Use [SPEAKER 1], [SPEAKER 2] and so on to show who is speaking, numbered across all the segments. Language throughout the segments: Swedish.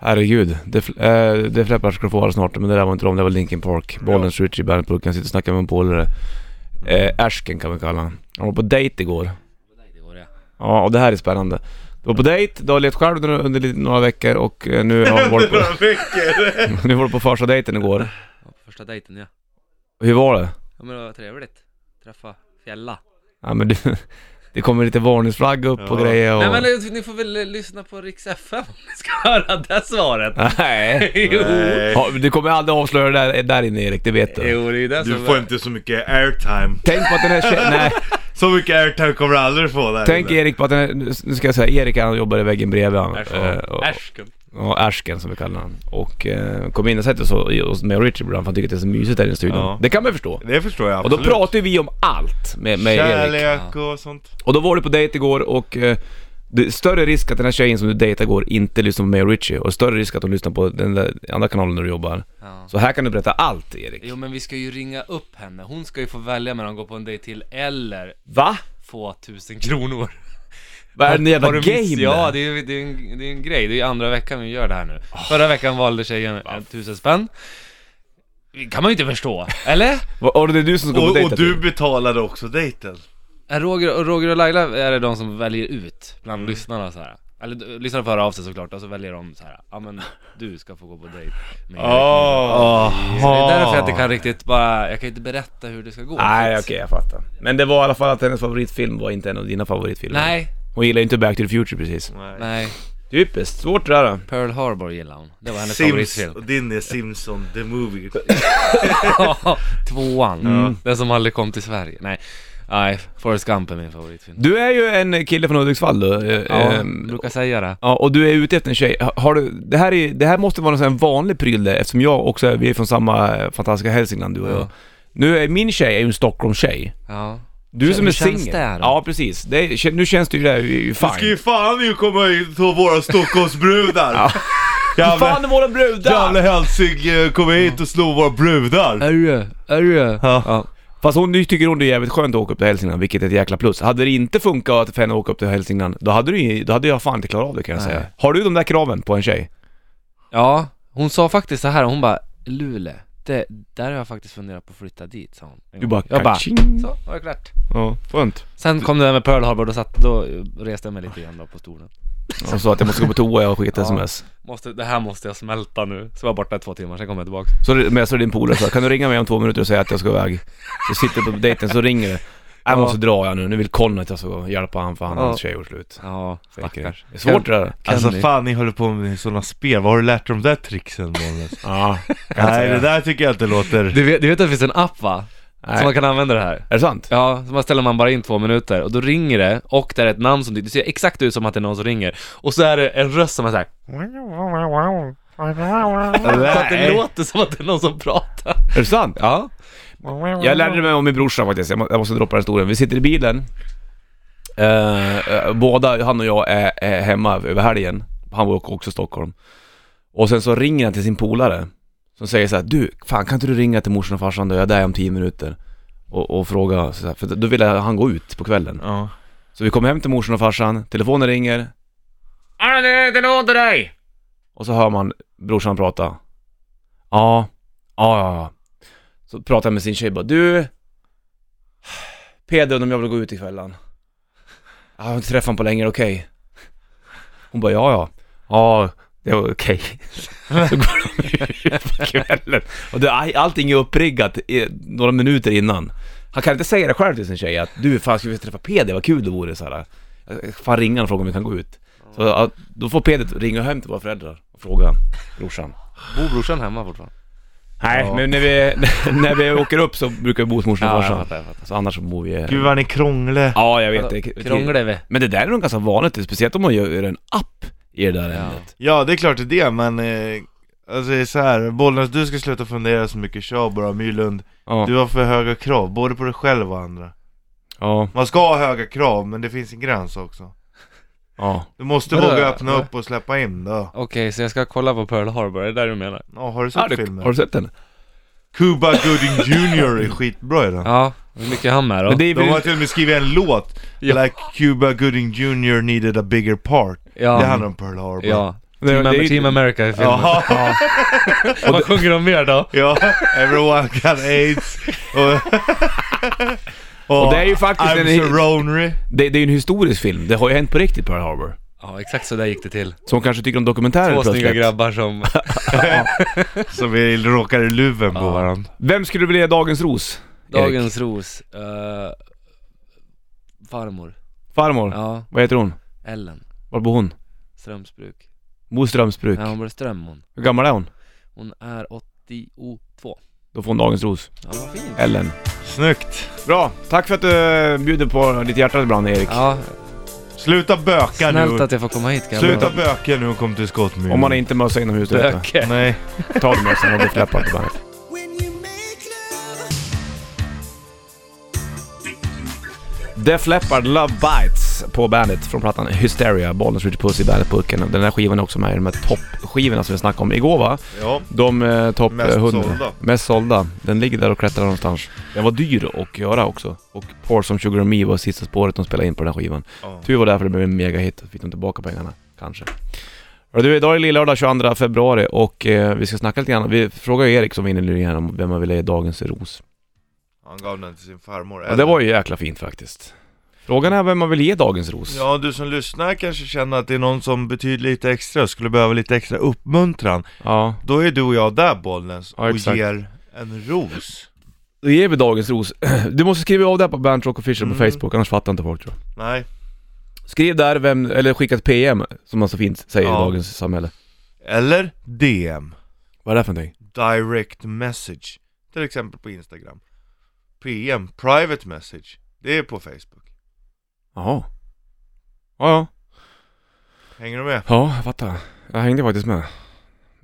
[SPEAKER 1] Herregud, det, fl- eh, det fläppar ska få vara snart, men det där var inte dem, det var Linkin Park. Bollens Richie Band Pucken, sitter och snackar med en polare. Eh, Ashken kan vi kalla honom. Han var på dejt igår. Ja, och det här är spännande. Du var på dejt, du har levt själv under, under lite- några veckor och eh, nu har du varit på,
[SPEAKER 2] veckor!
[SPEAKER 1] nu var du på första dejten igår.
[SPEAKER 3] Ja, på första dejten ja.
[SPEAKER 1] Hur var det?
[SPEAKER 3] Ja men det var trevligt. Träffa Fjälla.
[SPEAKER 1] Ja men du, det kommer lite varningsflagg upp och
[SPEAKER 2] Ja.
[SPEAKER 1] grejer och...
[SPEAKER 3] Nej men ni får väl eh, lyssna på Rix FM om ni ska höra det svaret.
[SPEAKER 1] Nej.
[SPEAKER 3] jo.
[SPEAKER 2] Nej.
[SPEAKER 1] Ja, du kommer aldrig avslöja det där, där inne Erik, det vet du.
[SPEAKER 3] Jo det är ju det
[SPEAKER 2] Du
[SPEAKER 3] som...
[SPEAKER 2] får inte så mycket airtime.
[SPEAKER 1] Tänk på att den här tjejen, nej,
[SPEAKER 2] Så mycket airtime kommer du aldrig få där
[SPEAKER 1] tänk
[SPEAKER 2] inne.
[SPEAKER 1] Erik på att den här, nu ska jag säga, Erik han jobbar i väggen bredvid han.
[SPEAKER 3] Äsch,
[SPEAKER 1] Eh, och-
[SPEAKER 3] Ärsken.
[SPEAKER 1] Ja, Ashken som vi kallar han. Och eh, kom in och sätter sig hos mig och Richard ibland för han tycker att det är så mysigt där i studion.
[SPEAKER 2] Ja.
[SPEAKER 1] Det kan man ju förstå.
[SPEAKER 2] Det förstår jag
[SPEAKER 1] Och då
[SPEAKER 2] absolut.
[SPEAKER 1] pratar ju vi om allt med, med Erik.
[SPEAKER 2] Kärlek och sånt.
[SPEAKER 1] Och då var du på dejt igår och eh, det är större risk att den här tjejen som du dejtar går inte lyssnar på mig och Richie och större risk att hon lyssnar på den där andra kanalen när du jobbar.
[SPEAKER 3] Ja.
[SPEAKER 1] Så här kan du berätta allt Erik.
[SPEAKER 3] Jo men vi ska ju ringa upp henne. Hon ska ju få välja mellan att gå på en dejt till eller
[SPEAKER 1] Va?
[SPEAKER 3] få tusen kronor.
[SPEAKER 1] Vad är det jävla
[SPEAKER 3] Har du
[SPEAKER 1] game
[SPEAKER 3] miss- Ja,
[SPEAKER 1] det?
[SPEAKER 3] det är ju det är en, det är en grej. Det är ju andra veckan vi gör det här nu. Förra veckan valde tjejen en tusen spänn. Det kan man ju inte förstå, eller?
[SPEAKER 1] Vad- Och det är du som ska på
[SPEAKER 2] Och,
[SPEAKER 1] dejta
[SPEAKER 2] och du betalade också dejten.
[SPEAKER 3] Är Eh, Roger, och Roger och Laila är det de som väljer ut bland
[SPEAKER 1] Mm.
[SPEAKER 3] lyssnarna så här. Eller d- lyssnarna får höra av sig såklart, och så väljer de så här. ja men du ska få gå på dejt med Erik
[SPEAKER 1] Ah.
[SPEAKER 3] Niva."
[SPEAKER 2] Ah,
[SPEAKER 3] Så Det är därför jag inte kan riktigt bara, jag kan inte berätta hur det ska gå
[SPEAKER 1] Nej
[SPEAKER 3] För
[SPEAKER 1] okej
[SPEAKER 3] att-
[SPEAKER 1] jag fattar. Men det var i alla fall att hennes favoritfilm var inte en av dina favoritfilmer.
[SPEAKER 3] Nej,
[SPEAKER 1] Hon gillar ju inte Back to the Future precis.
[SPEAKER 2] Nej.
[SPEAKER 3] nej,
[SPEAKER 1] Typiskt, svårt det där då.
[SPEAKER 3] Pearl Harbor gillar hon, det var hennes
[SPEAKER 2] Sims,
[SPEAKER 3] favoritfilm
[SPEAKER 2] och din är Simpson the Movie.
[SPEAKER 3] Ja, Tvåan, Mm. den som aldrig kom till Sverige, nej Nej, Forrest Gump är min favoritfilm
[SPEAKER 1] Du är ju en kille från Hudiksvall då. eh,
[SPEAKER 3] Ja,
[SPEAKER 1] ehm,
[SPEAKER 3] jag brukar säga det
[SPEAKER 1] Ja, och du är ute efter en tjej. Ha- Har du, det, här är, det här måste vara någon sån här vanlig pryl där, eftersom jag också är, vi är från samma eh, fantastiska Hälsingland du och jag.
[SPEAKER 3] Ja.
[SPEAKER 1] Nu är min tjej är ju en Stockholmstjej.
[SPEAKER 3] Ja
[SPEAKER 1] Du
[SPEAKER 3] Hur
[SPEAKER 1] som är
[SPEAKER 3] känns
[SPEAKER 1] singel.
[SPEAKER 3] det här då?
[SPEAKER 1] Ja precis. Det är, nu känns det ju det här ju ju
[SPEAKER 2] Du ska
[SPEAKER 1] fine.
[SPEAKER 2] ju fan ju komma hit och våra Stockholmsbrudar! Jävla,
[SPEAKER 1] Fan är våra
[SPEAKER 2] jävla
[SPEAKER 1] brudar!
[SPEAKER 2] Hälsing eh, kommer hit och slår våra brudar!
[SPEAKER 3] Är du? Är du?
[SPEAKER 2] Ja.
[SPEAKER 1] Fast hon nu tycker hon det är jävligt skönt att åka upp till Hälsingland, vilket är ett jäkla plus. Hade det inte funkat att för henne att åka upp till Hälsingland, då hade, du, ju- då hade jag fan inte klarat av det kan jag
[SPEAKER 3] Nej.
[SPEAKER 1] säga. Har du de där kraven på en tjej?
[SPEAKER 3] Ja, hon sa faktiskt så här, hon bara Luleå, det, där har jag faktiskt funderat på att flytta dit sa hon en
[SPEAKER 1] Du
[SPEAKER 3] gång.
[SPEAKER 1] bara
[SPEAKER 3] Jag bara,
[SPEAKER 1] kaching.
[SPEAKER 3] så, var det klart
[SPEAKER 1] Ja, skönt.
[SPEAKER 3] Sen kom det där med Pearl Harbor, då, satt, då reste jag mig lite igen då på stolen
[SPEAKER 1] Hon sa att jag måste gå på toa, jag har skickat
[SPEAKER 3] Ja.
[SPEAKER 1] sms.
[SPEAKER 3] måste, Det här måste jag smälta nu, så var jag borta i två timmar, sen kom jag tillbaks
[SPEAKER 1] Så messar din polare så här, kan du ringa mig om två minuter och säga att jag ska iväg? Så sitter du på dejten så ringer du. Jag
[SPEAKER 3] Ja.
[SPEAKER 1] måste dra jag nu, nu vill Conny att jag ska hjälpa han för han och
[SPEAKER 3] Ja.
[SPEAKER 1] hans tjej gjort slut.
[SPEAKER 3] Ja, stackars
[SPEAKER 1] Stackars. Det är svårt det där.
[SPEAKER 2] Alltså
[SPEAKER 3] ni?
[SPEAKER 2] fan ni håller på med sådana spel, vad har du lärt dig om de där tricksen Bollnäs?
[SPEAKER 1] Ja, kan jag
[SPEAKER 2] Nej
[SPEAKER 1] säga.
[SPEAKER 2] det där tycker jag inte låter...
[SPEAKER 3] du vet, du vet att det finns en app va?
[SPEAKER 1] Nej.
[SPEAKER 3] Som man kan använda det här?
[SPEAKER 1] Är det sant?
[SPEAKER 3] Ja, så man ställer man bara in två minuter och då ringer det och det är ett namn som du, det ser exakt ut som att det är någon som ringer Och så är det en röst som är såhär Så att det låter som att det är någon som pratar
[SPEAKER 1] Är det sant?
[SPEAKER 3] Ja
[SPEAKER 1] Jag lärde mig om min brorsa faktiskt, jag må- jag måste droppa den historien. Vi sitter i bilen, Eh, eh, båda, han och jag, är, är hemma över helgen. Han var också i Stockholm. Och sen så ringer han till sin polare, som säger så här: du, fan kan inte du ringa till morsan och farsan då, jag är där om tio minuter. Och, och fråga, så här, för då ville han gå ut på kvällen.
[SPEAKER 2] Ja.
[SPEAKER 1] Så vi kom hem till morsan och farsan, telefonen ringer,
[SPEAKER 3] Ja, det låter dig!
[SPEAKER 1] och så hör man brorsan prata. Ja, ja, ja, ja. Så pratar han med sin tjej bara, du... Peder om jag vill gå ut i kvällen. Jag har inte träffat honom på länge, är det okej? Hon bara, ja, ja. Ja, det var okej. Så går de ut på kvällen. Och det, allting är uppriggat i, några minuter innan. Han kan inte säga det själv till sin tjej att du, fan ska vi träffa Peder, vad kul det vore så här. Jag- Fan ringa och fråga om vi kan gå ut. Så ja, då får Peder ringa hem till våra föräldrar och fråga brorsan.
[SPEAKER 3] Bor brorsan hemma fortfarande?
[SPEAKER 1] Nej,
[SPEAKER 3] Ja.
[SPEAKER 1] men när vi, när vi åker upp så brukar vi bo hos morsan och farsan.
[SPEAKER 3] jag fattar.
[SPEAKER 1] Så annars så bor vi...
[SPEAKER 2] Gud vad ni krångle.
[SPEAKER 1] Ja, jag vet. det är-
[SPEAKER 3] Krånglar vi?
[SPEAKER 1] Men det där är nog ganska vanligt, speciellt om man gör en app i det där
[SPEAKER 3] Ja.
[SPEAKER 1] ämnet.
[SPEAKER 2] Ja det är klart det är det men... Eh, alltså det är så här. Bollnäs du ska sluta fundera så mycket, kör bara Myrlund.
[SPEAKER 1] Ja.
[SPEAKER 2] Du har för höga krav, både på dig själv och andra.
[SPEAKER 1] ja,
[SPEAKER 2] Man ska ha höga krav, men det finns en gräns också.
[SPEAKER 1] ja.
[SPEAKER 2] Du måste
[SPEAKER 3] Vadå?
[SPEAKER 2] våga öppna
[SPEAKER 3] Va?
[SPEAKER 2] upp och släppa in då.
[SPEAKER 3] Okej, så jag ska kolla på Pearl Harbor, är det där du menar?
[SPEAKER 2] Ja, har du
[SPEAKER 1] Har
[SPEAKER 2] sett
[SPEAKER 1] du,
[SPEAKER 2] filmen?
[SPEAKER 1] har du sett den?
[SPEAKER 2] Cuba Gooding Jr är skitbra i den.
[SPEAKER 3] Ja, hur mycket är han med då?
[SPEAKER 1] Men det är
[SPEAKER 2] De har
[SPEAKER 1] väl...
[SPEAKER 2] till och med skrivit en låt,
[SPEAKER 3] Ja.
[SPEAKER 2] Like Cuba Gooding Jr needed a bigger part.
[SPEAKER 3] ja,
[SPEAKER 2] Det handlar om Pearl Harbor.
[SPEAKER 3] Ja,
[SPEAKER 1] Det-
[SPEAKER 3] Team,
[SPEAKER 1] det är-
[SPEAKER 3] Team America i filmen.
[SPEAKER 2] Jaha.
[SPEAKER 3] Ja. Vad sjunger de mer då?
[SPEAKER 2] Ja, everyone got aids. Och,
[SPEAKER 1] Och det är ju faktiskt
[SPEAKER 2] I'm
[SPEAKER 1] en-
[SPEAKER 2] so lonely.
[SPEAKER 1] Det, det är ju en historisk film, det har ju hänt på riktigt Pearl Harbor.
[SPEAKER 3] Ja, exakt så där gick det till.
[SPEAKER 1] Så hon kanske tycker om dokumentärer
[SPEAKER 3] Två snygga
[SPEAKER 1] plötsligt.
[SPEAKER 3] grabbar som...
[SPEAKER 2] Så vi råkar i luven på
[SPEAKER 3] Ja.
[SPEAKER 2] varandra.
[SPEAKER 1] Vem skulle du vilja ge dagens ros? Erik?
[SPEAKER 3] Dagens ros. eh,
[SPEAKER 2] Mm.
[SPEAKER 3] farmor.
[SPEAKER 1] Farmor.
[SPEAKER 3] Ja,
[SPEAKER 1] Vad heter hon?
[SPEAKER 3] Ellen.
[SPEAKER 1] Var bor hon?
[SPEAKER 3] Strömsbruk.
[SPEAKER 1] Bor i Strömsbruk.
[SPEAKER 3] Ja, hon bor i Ström hon.
[SPEAKER 1] Hur gammal är hon?
[SPEAKER 3] Hon är 82.
[SPEAKER 1] Då får hon dagens ros.
[SPEAKER 3] Ja, vad fint.
[SPEAKER 1] Ellen.
[SPEAKER 2] Snyggt.
[SPEAKER 1] Bra, tack för att du eh, bjuder på ditt hjärta ibland Erik.
[SPEAKER 3] Ja,
[SPEAKER 2] Sluta böka
[SPEAKER 3] snällt
[SPEAKER 2] nu.
[SPEAKER 3] att jag får komma hit grabbar.
[SPEAKER 2] Sluta böka nu och kom till skott med
[SPEAKER 1] Om man inte mössa inomhus, du vet
[SPEAKER 3] Böke.
[SPEAKER 2] Nej.
[SPEAKER 1] det. Ta det med sig, man blir fläppad på bandet.
[SPEAKER 4] When you make love.
[SPEAKER 1] Def Leppard, Love Bites på bandet från plattan Hysteria, Bollnäs Ritchie Puss i bandet-burken. Den här skivan är också med i de här toppskivorna som vi snackade om igår va?
[SPEAKER 2] Ja.
[SPEAKER 1] De eh, topp
[SPEAKER 2] Mest
[SPEAKER 1] 100.
[SPEAKER 2] sålda.
[SPEAKER 1] Mest sålda. Den ligger där och klättrar någonstans. Den var dyr att göra också. Och Pour Some Sugar On Me var sista spåret de spelade in på den här skivan.
[SPEAKER 2] Ja.
[SPEAKER 1] Tur var det för det blev en megahit, fick de tillbaka pengarna, kanske. Och du, idag är det lillördag 22 februari och eh, vi ska snacka lite grann, vi frågade ju Erik som var inne nyligen om vem man ville ge dagens ros.
[SPEAKER 2] Han gav den till sin farmor.
[SPEAKER 1] Och det var ju jäkla fint faktiskt. Frågan är vem man vill ge dagens ros.
[SPEAKER 2] Ja, du som lyssnar kanske känner att det är någon som betyder lite extra och skulle behöva lite extra uppmuntran.
[SPEAKER 1] ja.
[SPEAKER 2] Då är du och jag där Bollnäs
[SPEAKER 1] Ja,
[SPEAKER 2] och
[SPEAKER 1] exakt.
[SPEAKER 2] ger en ros.
[SPEAKER 1] Då ger vi dagens ros. Du måste skriva av det här på Bernt Rock Official på
[SPEAKER 2] Mm.
[SPEAKER 1] Facebook, annars fattar inte folk tror jag.
[SPEAKER 2] Nej.
[SPEAKER 1] Skriv där vem, eller skicka ett PM, som man så fint säger
[SPEAKER 2] Ja.
[SPEAKER 1] i dagens samhälle.
[SPEAKER 2] Eller DM.
[SPEAKER 1] Vad är det för någonting?
[SPEAKER 2] Direct message. Till exempel på Instagram. PM. Private message. Det är på Facebook.
[SPEAKER 1] Jaha. Ja, ja.
[SPEAKER 2] Hänger du med?
[SPEAKER 1] Ja, jag fattar. Jag hängde faktiskt med.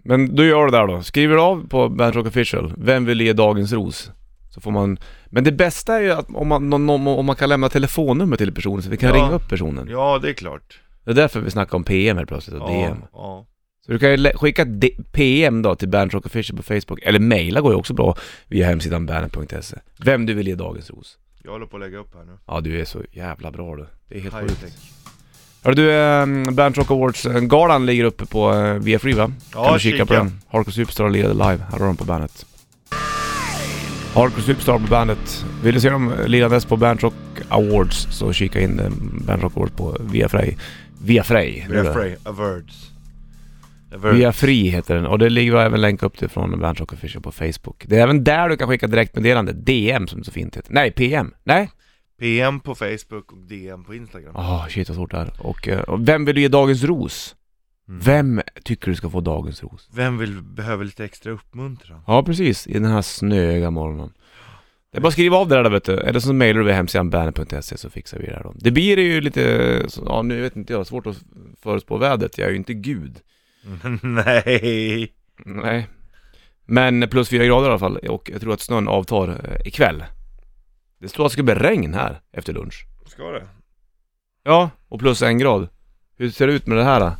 [SPEAKER 1] Men du gör det där då. Skriver du av på Bernt Rock Official, vem vill ge dagens ros? Så får man... Men det bästa är ju att om man, någon- om, om man kan lämna telefonnummer till personen så vi kan
[SPEAKER 2] Ja.
[SPEAKER 1] ringa upp personen.
[SPEAKER 2] Ja, det är klart.
[SPEAKER 1] Det är därför vi snackar om PM helt plötsligt och DM.
[SPEAKER 2] Ja, ja.
[SPEAKER 1] Så du kan ju lä- skicka ett D- PM då till Bernt Rock Official på Facebook, eller mejla går ju också bra via hemsidan bernet.se. Vem du vill ge dagens ros.
[SPEAKER 2] Jag håller på att lägga upp här nu.
[SPEAKER 1] Ja, du är så jävla bra du. Det är helt sjukt.
[SPEAKER 2] High-tech.
[SPEAKER 1] Hörru du, eh, Bernt Rock Awards-galan ligger uppe på eh, via Free va?
[SPEAKER 2] Ja,
[SPEAKER 1] kan du kika, på
[SPEAKER 2] kika.
[SPEAKER 1] den. Hardcore Superstar lirade live, här har de på bandet. Hardcore Superstar på bandet. Vill du se dem lirandes på Bernt Rock Awards så kika in eh, Bernt Rock Awards på via Frey. Via Frey.
[SPEAKER 2] Vi är afraid. Averds. Averds.
[SPEAKER 1] Via Free heter den och det ligger även länk upp till från Bernt Rock Official på Facebook. Det är även där du kan skicka direktmeddelande. DM som det så fint heter. Nej, PM. Nej?
[SPEAKER 2] PM på Facebook och DM på Instagram.
[SPEAKER 1] Ah, shit vad svårt det här. Och, eh, och vem vill du ge dagens ros?
[SPEAKER 2] Mm.
[SPEAKER 1] Vem tycker du ska få dagens ros?
[SPEAKER 2] Vem vill, behöver lite extra uppmuntran?
[SPEAKER 1] Ja, precis. I den här snöiga morgonen. Det är bara att skriva av det där då, vet du. Eller så mejlar du via hemsidan banner.se så fixar vi det här då. Det blir ju lite, så- ja nu vet inte jag, svårt att förutspå vädret. Jag är ju inte gud.
[SPEAKER 2] Nej.
[SPEAKER 1] Nej. Men plus fyra grader i alla fall och jag tror att snön avtar eh, ikväll. Det står att det ska bli regn här efter lunch.
[SPEAKER 2] Ska det?
[SPEAKER 1] Ja, och plus en grad. Hur ser det ut med det här då?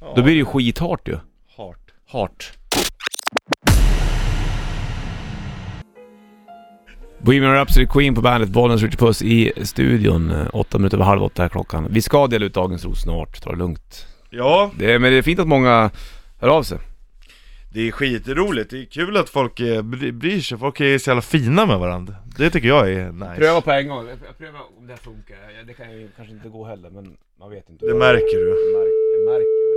[SPEAKER 2] Ja.
[SPEAKER 1] Då blir det ju skithart ju.
[SPEAKER 2] Hart.
[SPEAKER 1] Hart. Bohemian Rhapsody Queen på bandet, Bollnäs Ritchie Puss i studion. Eh, Åtta minuter över halv åtta är klockan. Vi ska dela ut dagens ros snart, ta det lugnt.
[SPEAKER 2] Ja,
[SPEAKER 1] Det, men det är fint att många hör av sig.
[SPEAKER 2] det är skitroligt. Det är kul att folk eh, bry- bryr sig. Folk är så jävla fina med varandra. Det tycker jag är nice.
[SPEAKER 1] på en gång, jag prövar om det funkar. Det kan ju kanske inte gå heller, men man vet inte.
[SPEAKER 2] Det märker du.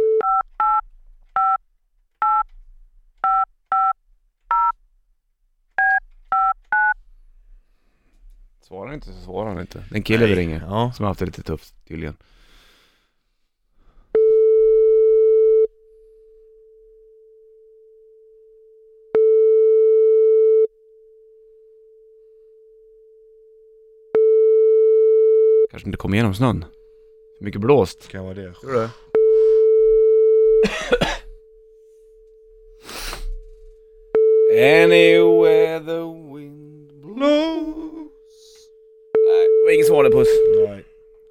[SPEAKER 1] Svarar han inte så svarar han inte. Den kille vi ringer.
[SPEAKER 2] Ja.
[SPEAKER 1] Som har haft det lite tufft tydligen. Kanske inte kom igenom snön. För Mycket blåst.
[SPEAKER 2] Kan vara det. Tror du?
[SPEAKER 1] Anywhere the wind blows. Nej, det var ingen som puss.
[SPEAKER 2] Nej.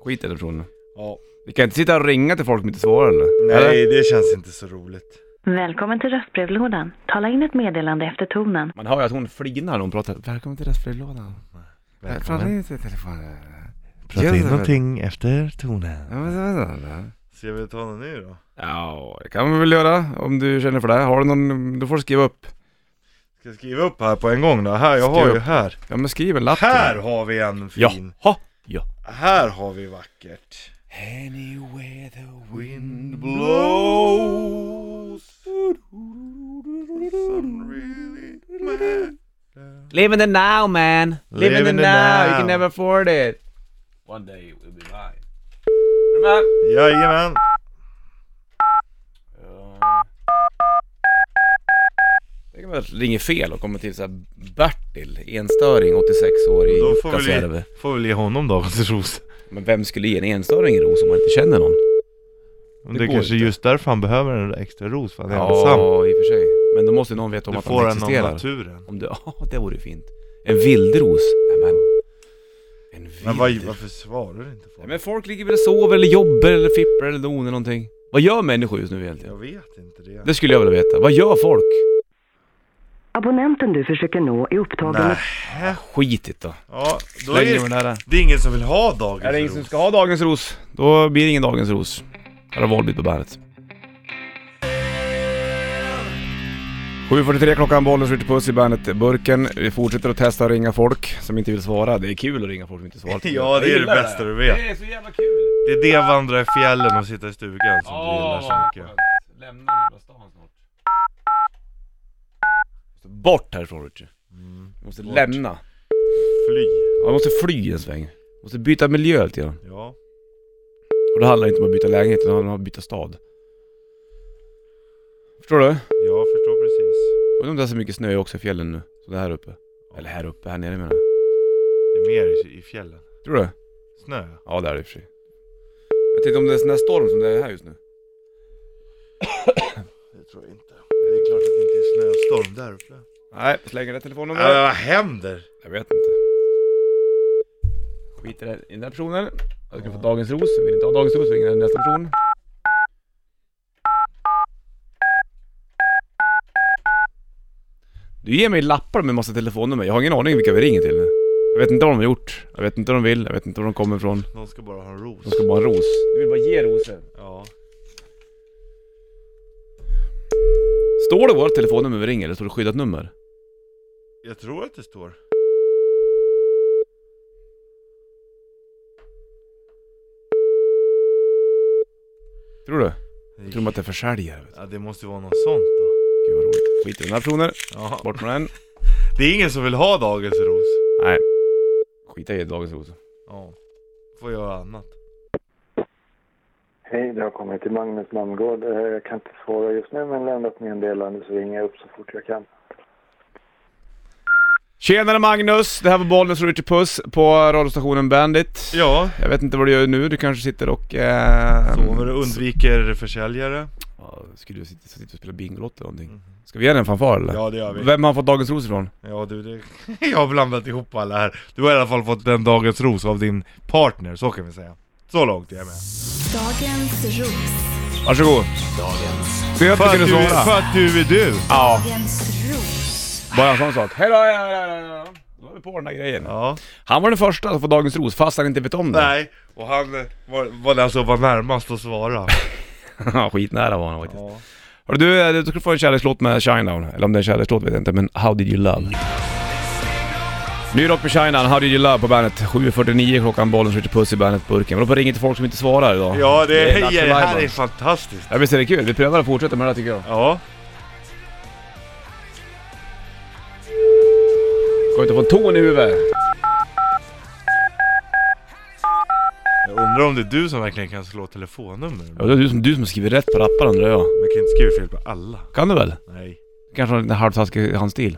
[SPEAKER 1] Skit i den personen.
[SPEAKER 2] Ja.
[SPEAKER 1] Vi kan inte sitta och ringa till folk som inte svarar eller? Eller?
[SPEAKER 2] Nej, det känns inte så roligt.
[SPEAKER 5] Välkommen till röstbrevlådan. Tala in ett meddelande efter tonen.
[SPEAKER 1] Man hör ju att hon flinar när hon pratar. Välkommen till röstbrevlådan. Prata
[SPEAKER 2] Välkommen.
[SPEAKER 1] inte i telefonen.
[SPEAKER 2] Prata in någonting efter tonen. Ska vi ta någon ny då?
[SPEAKER 1] Ja, det kan vi väl göra om du känner för det. Har du någon, då får du skriva upp.
[SPEAKER 2] Ska jag skriva upp här på en gång då? Här, jag har
[SPEAKER 1] Skriv
[SPEAKER 2] ju
[SPEAKER 1] upp.
[SPEAKER 2] här.
[SPEAKER 1] Ja men skriv en lapp till
[SPEAKER 2] Här
[SPEAKER 1] mig.
[SPEAKER 2] har vi en fin.
[SPEAKER 1] Jaha! Ja.
[SPEAKER 2] Här har vi vackert.
[SPEAKER 1] Anywhere the
[SPEAKER 2] Wind blows. Some really mad.
[SPEAKER 1] Live in the now man! Live, in the, now. you can never afford it! One day it will be mine.
[SPEAKER 2] Jajamän.
[SPEAKER 1] Tänk om jag ringer fel och kommer till så här Bertil, enstöring, 86 år i
[SPEAKER 2] Då får vi,
[SPEAKER 1] Jukkasjärvi.
[SPEAKER 2] ge, får vi ge honom dagens ros.
[SPEAKER 1] Men vem skulle ge en enstöring en ros om man inte känner någon?
[SPEAKER 2] Men
[SPEAKER 1] Det
[SPEAKER 2] det är
[SPEAKER 1] går
[SPEAKER 2] kanske
[SPEAKER 1] inte.
[SPEAKER 2] just därför han behöver en extra ros för han är ensam.
[SPEAKER 1] i och för sig. Men då måste ju någon veta om
[SPEAKER 2] Du
[SPEAKER 1] att
[SPEAKER 2] får
[SPEAKER 1] han
[SPEAKER 2] en av
[SPEAKER 1] existerar.
[SPEAKER 2] naturen.
[SPEAKER 1] Om du, ja det vore fint. En vildros. Nej men. En vildros.
[SPEAKER 2] Men vad, varför svarar du inte på
[SPEAKER 1] Nej,
[SPEAKER 2] det?
[SPEAKER 1] men folk ligger väl och sover eller jobbar eller fipplar eller donar någonting. Vad gör människor just nu egentligen?
[SPEAKER 2] Jag vet inte det.
[SPEAKER 1] Det skulle jag vilja veta. Vad gör folk?
[SPEAKER 5] Abonnenten du försöker nå är upptagen
[SPEAKER 2] Nej.
[SPEAKER 1] Skitigt då.
[SPEAKER 2] Ja, då är
[SPEAKER 1] Slänger vi den
[SPEAKER 2] det,
[SPEAKER 1] här.
[SPEAKER 2] det är ingen som vill ha dagens
[SPEAKER 1] Är det ingen
[SPEAKER 2] ros.
[SPEAKER 1] som ska ha dagens ros, då blir det ingen dagens ros. Här har Volbeat på bandet. 7.43 klockan, bollen skjuter puss i bandet Burken. Vi fortsätter att testa att ringa folk som inte vill svara. Det är kul att ringa folk som inte svarar.
[SPEAKER 2] Ja, det är det bästa du vet.
[SPEAKER 1] är så jävla kul.
[SPEAKER 2] Det är det att vandra i fjällen och sitta i stugan som du gillar så mycket.
[SPEAKER 1] Lämna den jävla stan snart. Bort härifrån Richie.
[SPEAKER 2] Mm.
[SPEAKER 1] Du måste
[SPEAKER 2] Bort.
[SPEAKER 1] lämna.
[SPEAKER 2] Fly.
[SPEAKER 1] Ja, du måste fly en sväng. Du måste byta miljö lite grann.
[SPEAKER 2] Ja.
[SPEAKER 1] Och då handlar det inte om att byta lägenhet, utan om att byta stad. Förstår du?
[SPEAKER 2] Jag förstår precis.
[SPEAKER 1] Undrar om det är så mycket snö också i fjällen nu, som det är här uppe. Eller här uppe, här nere menar jag.
[SPEAKER 2] Det är mer i, i fjällen.
[SPEAKER 1] Tror du det?
[SPEAKER 2] Snö.
[SPEAKER 1] Ja det är det i och för sig. Jag tänkte om det är en sån här storm som det är här just nu.
[SPEAKER 2] Det tror jag inte. Det är klart att det inte är snöstorm där uppe.
[SPEAKER 1] Nej, slänger det telefonnumret.
[SPEAKER 2] Äh, vad händer?
[SPEAKER 1] Jag vet inte. Skit i det- i den där personen. Jag ska få dagens ros. Vill inte ha dagens ros, ringer jag nästa person. Du ger mig lappar med massa telefonnummer. Jag har ingen aning vilka vi ringer till. Jag vet inte vad de har gjort. Jag vet inte vad de vill. Jag vet inte var de kommer ifrån.
[SPEAKER 2] Någon ska bara ha en ros.
[SPEAKER 1] De ska bara ha en ros. Du vill bara ge rosen.
[SPEAKER 2] Ja.
[SPEAKER 1] Står det vårt telefonnummer vi ringer eller står det skyddat nummer?
[SPEAKER 2] Jag tror att det står.
[SPEAKER 1] Tror du? Jag tror de att det är försäljare. vet du.
[SPEAKER 2] Ja, det måste ju vara något sånt då.
[SPEAKER 1] Gud vad roligt. Skit i den här personen.
[SPEAKER 2] Ja.
[SPEAKER 1] Bort med den.
[SPEAKER 2] Det är ingen som vill ha dagens ros.
[SPEAKER 1] Nej. Skit i dagens ros.
[SPEAKER 2] Ja. Får göra annat.
[SPEAKER 6] Hej, det har kommit till Magnus Malmgård. Eh, Jag kan inte svara just nu men lämna ett meddelande så ringer jag upp så fort jag kan.
[SPEAKER 1] Tjenare Magnus! Det här var Bollnäs och Richie Puss på radiostationen Bandit.
[SPEAKER 2] Ja.
[SPEAKER 1] Jag vet inte vad du gör nu, du kanske sitter och... Eh,
[SPEAKER 2] Sover och undviker försäljare.
[SPEAKER 1] Ja, skulle du sitta, sitta och spela Bingolotto eller någonting? Ska vi ge den en fanfar eller?
[SPEAKER 2] Mhm. Ja, det gör vi.
[SPEAKER 1] Vem har fått Dagens Ros ifrån?
[SPEAKER 2] Ja du, det... jag har blandat ihop alla här. Du har i alla fall fått den dagens ros av din partner, så kan vi säga. Så långt är jag med.
[SPEAKER 7] Dagens ros.
[SPEAKER 1] Varsågod! Dagens... Ser jag att du kunde svara?
[SPEAKER 2] för att du är du!
[SPEAKER 1] Ja,
[SPEAKER 7] Dagens ros.
[SPEAKER 1] bara en sån sak. Hejdå, hejdå, hejdå, hejdå. Då var vi på den här grejen.
[SPEAKER 2] Ja.
[SPEAKER 1] Han var den första att få Dagens Ros fast han inte vet om det.
[SPEAKER 2] Nej, och han eh, var, var den som var närmast att svara.
[SPEAKER 1] Ja, Skitnära var han faktiskt.
[SPEAKER 2] Ja.
[SPEAKER 1] Hörru du, eh, du ska få en kärlekslåt med Shinedown. Eller om det är en kärlekslåt vet jag inte, men How Did You Love? Ny rock med Shinedown, How Did You Love på bandet. 7.49 klockan, bollen skjuter puss i bandet-burken. Vadå på ringer till folk som inte svarar idag?
[SPEAKER 2] Ja, det, är,
[SPEAKER 1] dags för
[SPEAKER 2] det här
[SPEAKER 1] live, va?
[SPEAKER 2] är fantastiskt.
[SPEAKER 1] Ja visst är det kul, vi prövar att fortsätta med det här tycker jag.
[SPEAKER 2] Ja.
[SPEAKER 1] Ska inte få en ton i huvudet.
[SPEAKER 2] Jag undrar om det är du som verkligen kan slå telefonnummer.
[SPEAKER 1] Ja, det är du som, du som skriver rätt på rappar undrar jag.
[SPEAKER 2] Man kan inte skriva fel på alla.
[SPEAKER 1] Kan du väl?
[SPEAKER 2] Nej.
[SPEAKER 1] Kanske har en liten halvtaskig handstil.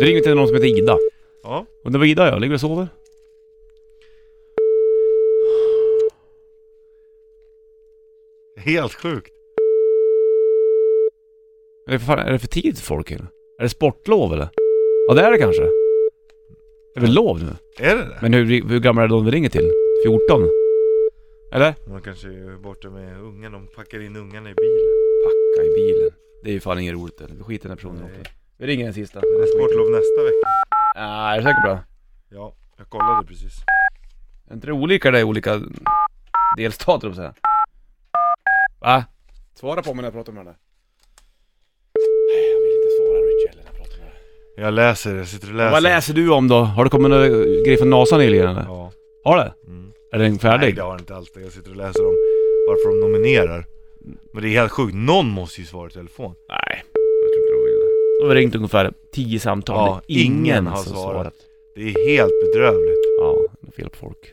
[SPEAKER 1] Du ringer till någon som heter Ida.
[SPEAKER 2] Ja.
[SPEAKER 1] Undrar vad Ida gör, ligger och sover?
[SPEAKER 2] Helt sjukt.
[SPEAKER 1] Är det för, fan, är det för tidigt för folk eller? Är det sportlov eller? Ja det är det kanske. Det är väl lov nu?
[SPEAKER 2] Är det det?
[SPEAKER 1] Men hur, hur gamla är de vi ringer till? 14? Eller?
[SPEAKER 2] Man kanske är borta med ungen. De packar in ungarna i bilen.
[SPEAKER 1] Packa i bilen. Det är ju fan inget roligt. eller? Vi skiter i den här personen
[SPEAKER 2] Nej.
[SPEAKER 1] också. Vi ringer den sista.
[SPEAKER 2] Men det är sportlov nästa vecka.
[SPEAKER 1] Nej, är du säker på det?
[SPEAKER 2] Ja, jag kollade precis.
[SPEAKER 1] Är inte det olika där i olika delstater, om säga?
[SPEAKER 3] Va?
[SPEAKER 1] Svara på mig när jag pratar med henne. Nej, jag vill inte svara Richard när jag pratar med henne.
[SPEAKER 2] Jag läser, jag sitter och läser.
[SPEAKER 1] Vad läser du om då? Har det kommit någon grej från NASA nyligen eller?
[SPEAKER 2] Ja.
[SPEAKER 1] Har det?
[SPEAKER 2] Mm.
[SPEAKER 1] Är den
[SPEAKER 2] Nej
[SPEAKER 1] färdig?
[SPEAKER 2] det har jag inte alltid. Jag sitter och läser om varför de nominerar. Men det är helt sjukt, någon måste ju svara i telefon.
[SPEAKER 1] Nej, jag tror inte de vill det. De har ringt ungefär tio samtal.
[SPEAKER 2] Ja,
[SPEAKER 1] Det är
[SPEAKER 2] ingen har
[SPEAKER 1] som
[SPEAKER 2] svarat. Det är helt bedrövligt.
[SPEAKER 1] Ja, det är fel på folk.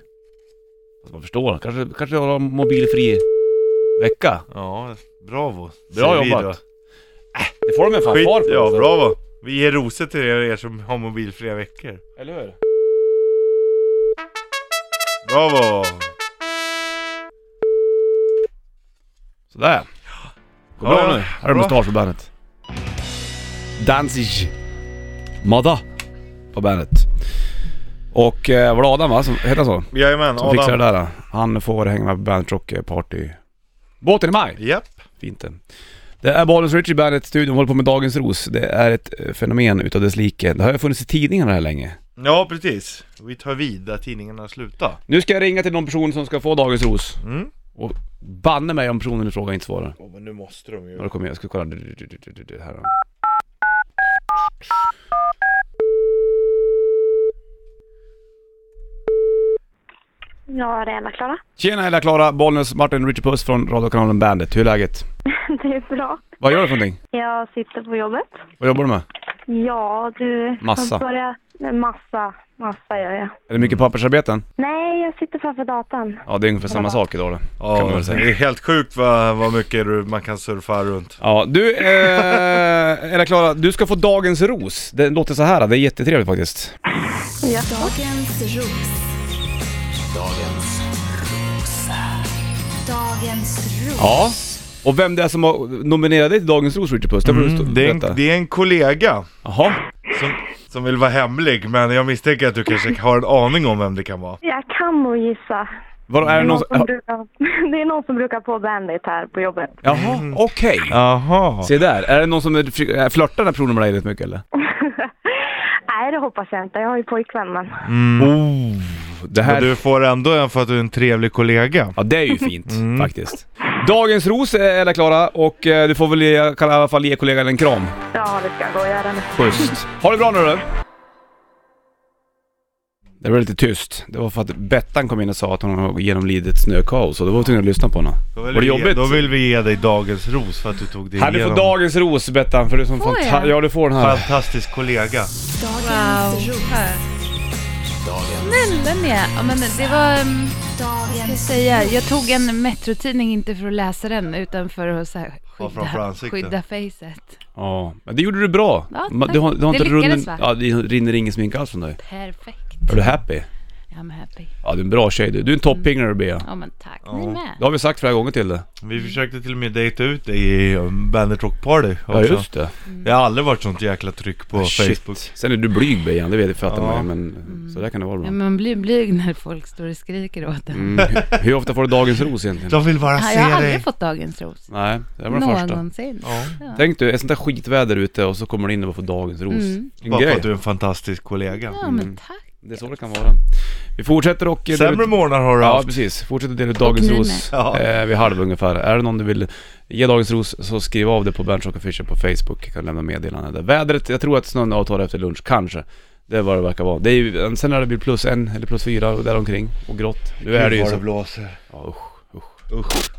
[SPEAKER 1] Fast man förstår. Kanske, kanske har de mobilfri vecka.
[SPEAKER 2] Ja, bravo.
[SPEAKER 1] Bra
[SPEAKER 2] Säger vi
[SPEAKER 1] jobbat. Äh,
[SPEAKER 2] då.
[SPEAKER 1] Det får de en
[SPEAKER 2] Skit,
[SPEAKER 1] fanfar på.
[SPEAKER 2] ja
[SPEAKER 1] så.
[SPEAKER 2] bravo. Vi ger rosor till er, er som har mobilfria veckor.
[SPEAKER 1] Eller hur?
[SPEAKER 2] Bravo!
[SPEAKER 1] Sådär. Går
[SPEAKER 2] Ja,
[SPEAKER 1] bra
[SPEAKER 2] ja.
[SPEAKER 1] nu. Här är
[SPEAKER 2] Bra.
[SPEAKER 1] mustasch på bandet. Danzig. Mada. På bandet. Och eh, var det Adam va? Som, heter han så?
[SPEAKER 2] Jajamän,
[SPEAKER 1] Som fixar
[SPEAKER 2] Adam.
[SPEAKER 1] det där. då. Han får hänga med på Bandet Rock eh, Party. Båten i maj.
[SPEAKER 2] Japp.
[SPEAKER 1] Fint det. Det är Bollens Richie Bandet studion håller på med Dagens Ros. Det är ett eh, fenomen utav dess like. Det har ju funnits i tidningarna här länge.
[SPEAKER 2] Ja, precis. Vi tar vid där tidningarna slutar.
[SPEAKER 1] Nu ska jag ringa till någon person som ska få Dagens Ros.
[SPEAKER 2] Mm.
[SPEAKER 1] Och banne mig om personen i fråga inte svarar.
[SPEAKER 2] Ja, men nu måste de
[SPEAKER 1] Ja,
[SPEAKER 2] ju.
[SPEAKER 1] då kommer jag. Jag ska kolla. Du, du, du, du, du, du, Här då.
[SPEAKER 8] Ja, det är Anna-Klara.
[SPEAKER 1] Tjena hela Klara, Bollnäs, Martin, Richard Puss från radiokanalen Bandit. Hur är läget?
[SPEAKER 8] Det är bra.
[SPEAKER 1] Vad gör du för någonting?
[SPEAKER 8] Jag sitter på jobbet.
[SPEAKER 1] Vad jobbar du med?
[SPEAKER 8] Ja, du...
[SPEAKER 1] Massa.
[SPEAKER 8] jag Börjar... Nej, Massa. Massa gör jag.
[SPEAKER 1] Är det mycket pappersarbeten?
[SPEAKER 8] Nej, jag sitter framför datorn.
[SPEAKER 1] Ja, det är ungefär samma sak idag då. kan man
[SPEAKER 2] Ja,
[SPEAKER 1] väl
[SPEAKER 2] det
[SPEAKER 1] säga.
[SPEAKER 2] är helt sjukt vad, vad mycket du- man kan surfa runt.
[SPEAKER 1] Ja, du eh, hela Klara, du ska få dagens ros. Det låter så här, det är jättetrevligt faktiskt.
[SPEAKER 8] Ja.
[SPEAKER 7] Dagens ros. Dagens ros.
[SPEAKER 1] Ja. Och vem det är som har nominerat dig till dagens ros, Richard Puss, det får du stå-
[SPEAKER 2] Mm, det, är en,
[SPEAKER 1] berätta.
[SPEAKER 2] det är en kollega
[SPEAKER 1] Jaha.
[SPEAKER 2] som, som vill vara hemlig, men jag misstänker att du kanske har en aning om vem det kan vara.
[SPEAKER 8] Jag kan nog gissa.
[SPEAKER 1] Var, är
[SPEAKER 8] Det
[SPEAKER 1] det
[SPEAKER 8] är,
[SPEAKER 1] någon
[SPEAKER 8] någon som
[SPEAKER 2] Mm.
[SPEAKER 1] som...
[SPEAKER 8] brukar... det är någon som brukar på Bandit här på jobbet.
[SPEAKER 1] Jaha, okej.
[SPEAKER 2] Jaha.
[SPEAKER 1] Se där, är det någon som är- flörtar den här personen med dig rätt mycket eller?
[SPEAKER 8] Nej, det hoppas jag inte. Jag har ju pojkvän, men...
[SPEAKER 1] Oh, det här...
[SPEAKER 2] Men du får ändå en för att du är en trevlig kollega.
[SPEAKER 1] Ja det är ju fint
[SPEAKER 9] Mm.
[SPEAKER 1] faktiskt. Dagens ros är Ella Klara och eh, du får väl ge, kan i alla fall ge kollegan en kram.
[SPEAKER 8] Ja, det ska jag gå och göra nu.
[SPEAKER 1] Schysst. Ha det bra nu du. Det var lite tyst. Det var för att Bettan kom in och sa att hon har genomlidit ett snökaos och då var vi tvungna att lyssna på henne.
[SPEAKER 2] Då
[SPEAKER 1] Var det
[SPEAKER 2] vi ge-
[SPEAKER 1] jobbigt?
[SPEAKER 2] Då vill vi ge dig dagens ros för att du tog dig
[SPEAKER 1] Här, du får
[SPEAKER 2] igenom.
[SPEAKER 1] dagens ros Bettan för du som
[SPEAKER 9] Får
[SPEAKER 1] fanta-
[SPEAKER 9] jag?
[SPEAKER 1] Ja du får den här.
[SPEAKER 2] Fantastisk kollega.
[SPEAKER 7] Dagens ros.
[SPEAKER 9] Snälla ni! Ja, men det var... ehm, Vad ska jag
[SPEAKER 7] Dagens
[SPEAKER 9] säga? Jag tog en metrotidning inte för att läsa den utan för att så här,
[SPEAKER 2] framför
[SPEAKER 9] skydda,
[SPEAKER 2] ansiktet.
[SPEAKER 9] skydda facet.
[SPEAKER 1] Ja, men det gjorde du bra.
[SPEAKER 9] Ja,
[SPEAKER 1] Ma-
[SPEAKER 9] tack.
[SPEAKER 1] du har, du har
[SPEAKER 9] Det
[SPEAKER 1] inte
[SPEAKER 9] lyckades, va?
[SPEAKER 1] ja, det rinner ingen smink alls från dig.
[SPEAKER 9] Perfekt.
[SPEAKER 1] Är du happy?
[SPEAKER 9] I'm happy.
[SPEAKER 1] Ja du är en bra tjej du. Du är en toppingare du Bea.
[SPEAKER 9] Ja men tack, ni med.
[SPEAKER 1] Det har vi sagt flera gånger till dig.
[SPEAKER 2] Vi försökte till och med dejta ut dig i um, Bandit Rock Party
[SPEAKER 9] Mm.
[SPEAKER 1] Ja
[SPEAKER 2] också.
[SPEAKER 1] just det.
[SPEAKER 2] Det har aldrig varit sånt jäkla tryck på
[SPEAKER 1] Shit.
[SPEAKER 2] Facebook.
[SPEAKER 1] Sen är du blyg Bejan, det vet jag fattar
[SPEAKER 2] Ja.
[SPEAKER 1] man ju, men så där kan det vara
[SPEAKER 9] Ja,
[SPEAKER 1] ibland.
[SPEAKER 9] men man blir blyg när folk står och skriker åt en.
[SPEAKER 1] Mm. Hur ofta får du dagens ros egentligen?
[SPEAKER 2] De vill bara
[SPEAKER 9] Ja,
[SPEAKER 2] se
[SPEAKER 9] jag har
[SPEAKER 2] dig.
[SPEAKER 9] aldrig fått dagens ros.
[SPEAKER 1] Nej, det var den första.
[SPEAKER 9] Någonsin.
[SPEAKER 2] Ja.
[SPEAKER 9] Ja.
[SPEAKER 1] Tänk du, ett sånt där skitväder ute och så kommer du in och får dagens ros.
[SPEAKER 9] Mm.
[SPEAKER 1] En
[SPEAKER 2] Bara för
[SPEAKER 1] grej.
[SPEAKER 2] att du är en fantastisk kollega.
[SPEAKER 9] Ja men tack.
[SPEAKER 1] Det är så det kan vara. Vi fortsätter och... eh, dela
[SPEAKER 2] Sämre
[SPEAKER 1] ut-
[SPEAKER 2] morgnar har du
[SPEAKER 1] Ja
[SPEAKER 2] haft.
[SPEAKER 1] precis, fortsätter dela ut dagens
[SPEAKER 9] ni
[SPEAKER 1] ros
[SPEAKER 2] med.
[SPEAKER 1] eh, vid halv ungefär. Är det någon du vill ge dagens ros så skriv av det på Bernt Rock Official på Facebook. Jag kan lämna meddelande där. Vädret, jag tror att snön avtar efter lunch, kanske. Det är vad det verkar vara. Det är ju, sen när det blir plus en eller plus fyra och däromkring och grått. Nu är det ju
[SPEAKER 2] Gud
[SPEAKER 1] så.
[SPEAKER 2] vad det blåser.
[SPEAKER 1] Ja, usch, usch.
[SPEAKER 2] Usch.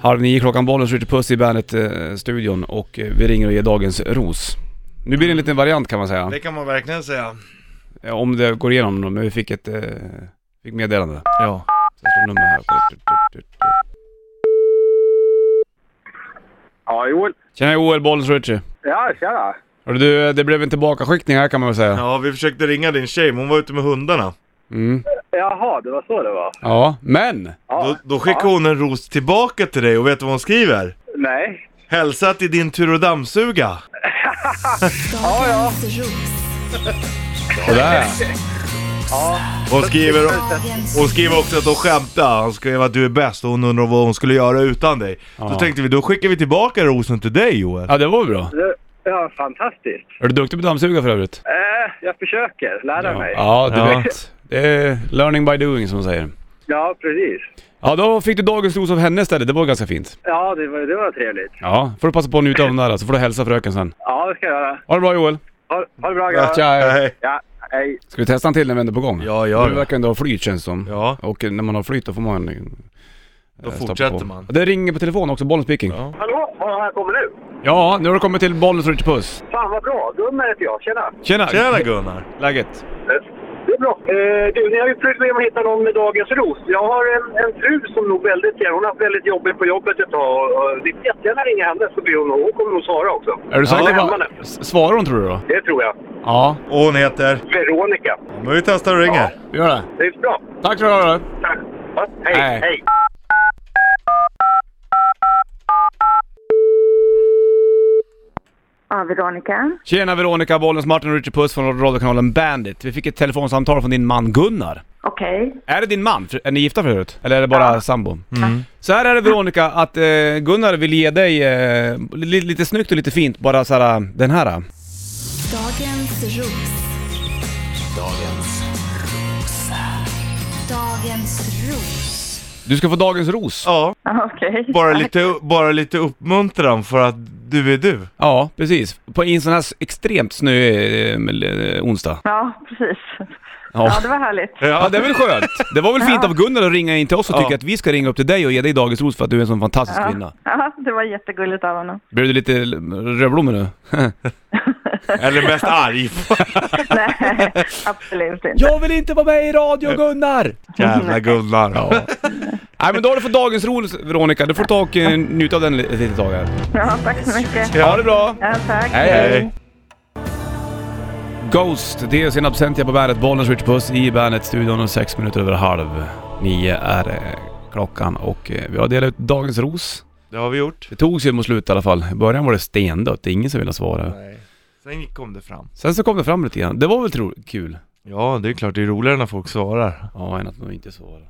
[SPEAKER 1] Halv nio klockan, bollen skjuter puss i Bandet-studion och eh, vi ringer och ger dagens ros. Nu blir det en liten variant kan man säga,
[SPEAKER 2] Det kan man verkligen säga.
[SPEAKER 1] Eh, om det går igenom då, men vi fick ett eh, fick meddelande.
[SPEAKER 2] Ja.
[SPEAKER 1] Så jag slår nummer här.
[SPEAKER 6] Ja, Joel.
[SPEAKER 1] Tjena Joel, bollen Richie.
[SPEAKER 6] Ja, tjena.
[SPEAKER 1] Hörru du, eh, det blev en tillbakaskickning här kan man väl säga.
[SPEAKER 2] Ja, vi försökte ringa din tjej, men hon var ute med hundarna.
[SPEAKER 1] Mm.
[SPEAKER 6] Jaha, det var så det var.
[SPEAKER 1] Ja, men!
[SPEAKER 2] Då, då skickade hon en ros tillbaka till dig och vet du vad hon skriver?
[SPEAKER 6] Nej.
[SPEAKER 2] Hälsa till din tur och dammsuga.
[SPEAKER 7] Dagens ros.
[SPEAKER 1] Sådär
[SPEAKER 2] Hon skriver,
[SPEAKER 7] Dagens
[SPEAKER 2] hon skriver också att hon skämtar. Hon skrev att du är bäst och hon undrar vad hon skulle göra utan dig.
[SPEAKER 1] Ja.
[SPEAKER 2] Då tänkte vi, då skickar vi tillbaka rosen till dig Joel.
[SPEAKER 1] Ja, det var väl bra.
[SPEAKER 6] Ja, fantastiskt.
[SPEAKER 1] Är du duktig på att dammsuga för övrigt?
[SPEAKER 6] Eh, jag försöker lära mig.
[SPEAKER 1] Ja, du
[SPEAKER 2] Ja.
[SPEAKER 1] vet. Det är learning by doing som man säger.
[SPEAKER 6] Ja, precis.
[SPEAKER 1] Ja, då fick du dagens ros av henne istället. Det var ju ganska fint.
[SPEAKER 6] Ja, det var, det var trevligt.
[SPEAKER 1] Ja, får du passa på att njuta av den där så får du hälsa fröken sen.
[SPEAKER 6] Ja, det ska jag göra.
[SPEAKER 1] Ha det bra Joel!
[SPEAKER 6] Ha, ha det bra grabbar.
[SPEAKER 2] Nej.
[SPEAKER 6] Ja, hej.
[SPEAKER 1] Ska vi testa en till när vi ändå är på gång?
[SPEAKER 2] Ja, gör
[SPEAKER 1] Du
[SPEAKER 2] det.
[SPEAKER 1] verkar ändå ha flyt känns det som.
[SPEAKER 2] Ja.
[SPEAKER 1] Och när man har flyt då får man... eh,
[SPEAKER 2] Då
[SPEAKER 1] stoppa
[SPEAKER 2] fortsätter
[SPEAKER 1] på.
[SPEAKER 2] man.
[SPEAKER 1] Det ringer på telefonen också, bollen speaking. Ja.
[SPEAKER 2] Ja.
[SPEAKER 6] Hallå, vad här kommer du?
[SPEAKER 1] nu har du kommit till bollen så du puss.
[SPEAKER 6] Fan vad bra, Gunnar heter jag. Tjena.
[SPEAKER 1] Tjena!
[SPEAKER 2] Tjena Gunnar!
[SPEAKER 1] Läget?
[SPEAKER 6] Det är bra. Eh, du, ni har ju försökt med att hitta någon med dagens ros. Jag har en, en fru som nog väldigt gärna, hon har haft väldigt jobbigt på jobbet ett tag. och, och Ni får jättegärna ringa henne så blir hon, hon kommer nog svara också.
[SPEAKER 1] Är du säker
[SPEAKER 6] hon är
[SPEAKER 1] på...
[SPEAKER 6] hemma nu.
[SPEAKER 1] S- Svarar hon tror du då?
[SPEAKER 6] Det tror jag.
[SPEAKER 1] Ja,
[SPEAKER 2] Och hon heter?
[SPEAKER 6] Veronica.
[SPEAKER 2] Ja, Men vi testar och ringer.
[SPEAKER 1] vi gör det.
[SPEAKER 6] Det är bra.
[SPEAKER 1] Tack för att du hörde.
[SPEAKER 6] Tack. Ja, hej,
[SPEAKER 1] Hej.
[SPEAKER 6] hej.
[SPEAKER 8] Ja, Veronica.
[SPEAKER 1] Tjena Veronica, bollens Martin och Richard Puss från radiokanalen Bandit. Vi fick ett telefonsamtal från din man Gunnar.
[SPEAKER 8] Okej.
[SPEAKER 1] Är det din man? För- Är ni gifta förut? Eller är det bara sambo? Så här är det Veronica, att eh, Gunnar vill ge dig eh, li- lite snyggt och lite fint, bara så här, den här.
[SPEAKER 7] Dagens ros. Dagens ros.
[SPEAKER 1] Du ska få dagens ros.
[SPEAKER 2] Ja,
[SPEAKER 8] Ja, Okej.
[SPEAKER 2] bara lite, bara lite uppmuntran för att du är du.
[SPEAKER 1] Ja, precis. På en sån här s- extremt snöig eh, l- eh, onsdag.
[SPEAKER 8] Ja, precis.
[SPEAKER 1] Ja.
[SPEAKER 8] Ja, det var härligt.
[SPEAKER 1] Ja, det är väl skönt. Det var väl fint av Gunnar att ringa in till oss och tycka
[SPEAKER 2] Ja.
[SPEAKER 1] att vi ska ringa upp till dig och ge dig dagens ros för att du är en sån fantastisk kvinna.
[SPEAKER 8] Ja, det var jättegulligt av honom.
[SPEAKER 1] Blev du lite l- rödblommig nu?
[SPEAKER 2] Eller mest arg.
[SPEAKER 8] Nej, absolut inte.
[SPEAKER 1] Jag vill inte vara med i radio Gunnar!
[SPEAKER 2] Jävla Gunnar.
[SPEAKER 1] Eh, Ja. Nej men då har du fått dagens ros Veronica, du får ta och eh, njuta av den li- ett litet tag här.
[SPEAKER 8] Ja, tack så mycket.
[SPEAKER 1] Ha det bra!
[SPEAKER 8] Ja, tack.
[SPEAKER 2] Hej.
[SPEAKER 1] Eh, Ghost, det är sin absentia på bandet, Bollnäs Rich Puss i bandet, studion och sex minuter över halv nio är eh, klockan och eh, vi har delat ut dagens ros.
[SPEAKER 2] Det har vi gjort.
[SPEAKER 1] Det togs ju mot slutet i alla fall. I början var det stendött, det är ingen som ville svara.
[SPEAKER 2] Nej. Sen kom det fram.
[SPEAKER 1] Sen så kom det fram lite grann, det var väl tro- kul?
[SPEAKER 2] Ja, det är klart det är roligare när folk svarar.
[SPEAKER 1] Ja, än att de inte svarar.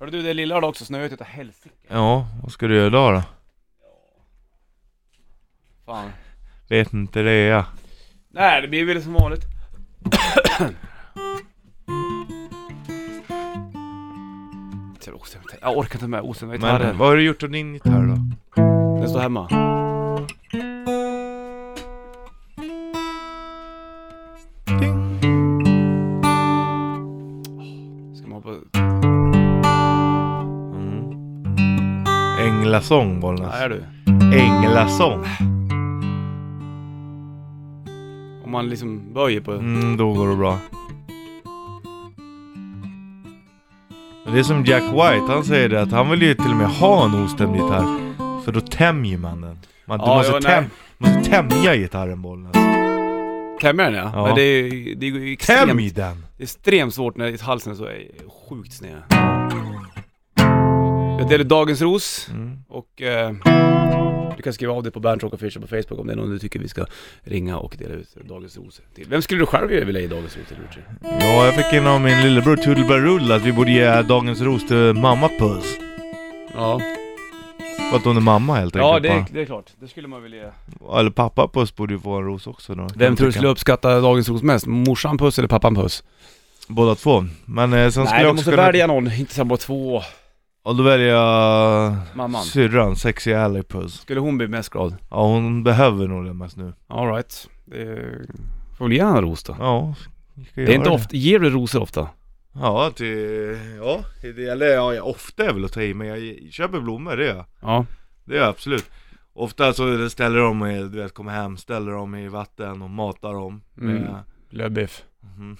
[SPEAKER 1] Hörde du, det lilla har också snöat utav helsike.
[SPEAKER 2] Ja, vad ska du göra idag då?
[SPEAKER 1] Fan.
[SPEAKER 2] Vet inte det jag.
[SPEAKER 1] Nej, det blir väl som vanligt. Jag orkar inte med osämja
[SPEAKER 2] Men
[SPEAKER 1] gitarren.
[SPEAKER 2] vad har du gjort av din gitarr då?
[SPEAKER 1] Den står hemma. Ska man hoppa...
[SPEAKER 2] Mm. Änglasång
[SPEAKER 1] Nej
[SPEAKER 2] Bollnäs.
[SPEAKER 1] du.
[SPEAKER 2] Änglasång.
[SPEAKER 1] Om man liksom böjer på...
[SPEAKER 2] Mm, då går det bra. Men Det är som Jack White, han säger det att han vill ju till och med ha en ostämd gitarr. För då tämjer man den. Man, du
[SPEAKER 1] Ja,
[SPEAKER 2] måste,
[SPEAKER 1] jo,
[SPEAKER 2] täm
[SPEAKER 1] nej.
[SPEAKER 2] måste tämja gitarren Bollnäs.
[SPEAKER 1] Tämjer den ja.
[SPEAKER 2] Ja.
[SPEAKER 1] Men det är ju det är ju extremt,
[SPEAKER 2] Tämj den!
[SPEAKER 1] det är extremt svårt när halsen är så är sjukt sned. Jag delar dagens ros.
[SPEAKER 2] Mm.
[SPEAKER 1] Och eh, du kan skriva av dig på Bernt Rock Fisher på Facebook om det är någon du tycker vi ska ringa och dela ut dagens ros till. Vem skulle du själv vilja ge dagens ros till Richie?
[SPEAKER 2] Ja, jag fick in av min lillebror Toodlebarull att vi borde ge dagens ros till mamma Puss.
[SPEAKER 1] Ja,
[SPEAKER 2] För att hon är mamma helt enkelt.
[SPEAKER 1] ja det, är,
[SPEAKER 2] va?
[SPEAKER 1] det är klart. Det skulle man vilja
[SPEAKER 2] Eller pappa Puss borde ju få en ros också då. kan
[SPEAKER 1] Vem
[SPEAKER 2] jag
[SPEAKER 1] tror du
[SPEAKER 2] tycka.
[SPEAKER 1] skulle uppskatta dagens ros mest? Morsan puss eller pappan puss?
[SPEAKER 2] Båda två. Men eh, sen skulle
[SPEAKER 1] Nej, du
[SPEAKER 2] jag också
[SPEAKER 1] måste
[SPEAKER 2] kunna...
[SPEAKER 1] välja någon. Inte samma två.
[SPEAKER 2] Och då väljer jag...
[SPEAKER 1] Mamman.
[SPEAKER 2] Syrran, Sexy Ally Puss.
[SPEAKER 1] Skulle hon bli mest glad?
[SPEAKER 2] Ja, hon behöver nog det mest nu.
[SPEAKER 1] Alright. Får väl ge henne en ros då.
[SPEAKER 2] Ja, ska
[SPEAKER 1] Det är inte ofta, ger du rosor ofta?
[SPEAKER 2] Ja, till, ja, det, eller ja, jag- ofta är väl att ta i, men jag köper blommor, det gör jag.
[SPEAKER 1] Ja.
[SPEAKER 2] Det gör jag absolut. Ofta så ställer de, eh, du vet, kommer hem, ställer dem i vatten och matar dem. med-
[SPEAKER 1] Mm. Lövbiff.
[SPEAKER 2] Mhm.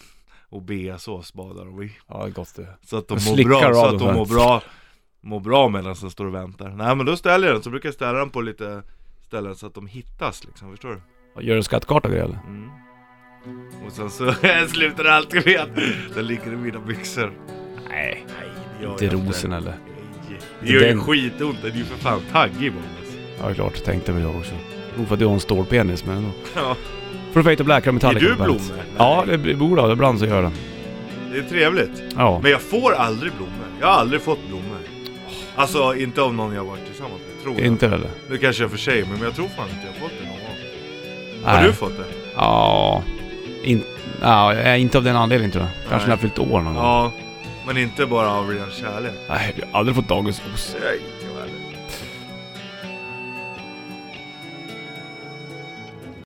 [SPEAKER 2] Och beasås badar de i.
[SPEAKER 1] Ja, gott det.
[SPEAKER 2] Så att de
[SPEAKER 1] Och
[SPEAKER 2] mår
[SPEAKER 1] slickar
[SPEAKER 2] bra,
[SPEAKER 1] av
[SPEAKER 2] så
[SPEAKER 1] dem
[SPEAKER 2] att de
[SPEAKER 1] sen.
[SPEAKER 2] mår bra, mår bra medan de står och väntar. Nej men då ställer jag den, så brukar jag ställa den på lite ställen så att de hittas liksom, förstår du?
[SPEAKER 1] Gör du skattkarta och grejer eller?
[SPEAKER 2] Mm. Och sen så slutar det alltid med att den ligger i mina byxor.
[SPEAKER 1] Nej.
[SPEAKER 2] Nej, det gör
[SPEAKER 1] Inte
[SPEAKER 2] jag
[SPEAKER 1] rosen eller?
[SPEAKER 2] Nej, Det gör ju
[SPEAKER 1] Den-
[SPEAKER 2] skitont, den är ju för fan taggig Bollnäs.
[SPEAKER 1] Ja, det är klart. Tänkte väl jag också. Nog för att du har en stålpenis, men ändå.
[SPEAKER 2] Ja,
[SPEAKER 1] För Fate of Black och Metallica.
[SPEAKER 2] Ger du
[SPEAKER 1] på bandet.
[SPEAKER 2] blommor?
[SPEAKER 1] Ja, det blir- borde jag. Ibland så gör jag det.
[SPEAKER 2] det är trevligt.
[SPEAKER 1] Ja.
[SPEAKER 2] Men jag får aldrig blommor. Jag har aldrig fått blommor. Alltså inte av någon jag har varit tillsammans med, tror jag.
[SPEAKER 1] Inte heller.
[SPEAKER 2] Nu kanske jag för sig, men jag tror fan inte jag har fått det någon gång. Har
[SPEAKER 1] Nej.
[SPEAKER 2] du fått det?
[SPEAKER 1] Ja... In, ja, jag är inte av den anledningen tror jag. Kanske
[SPEAKER 2] Nej.
[SPEAKER 1] när jag fyllt år någon gång.
[SPEAKER 2] Ja. Men inte bara av ren kärlek.
[SPEAKER 1] Nej, jag har aldrig fått dagens os.
[SPEAKER 2] Nej,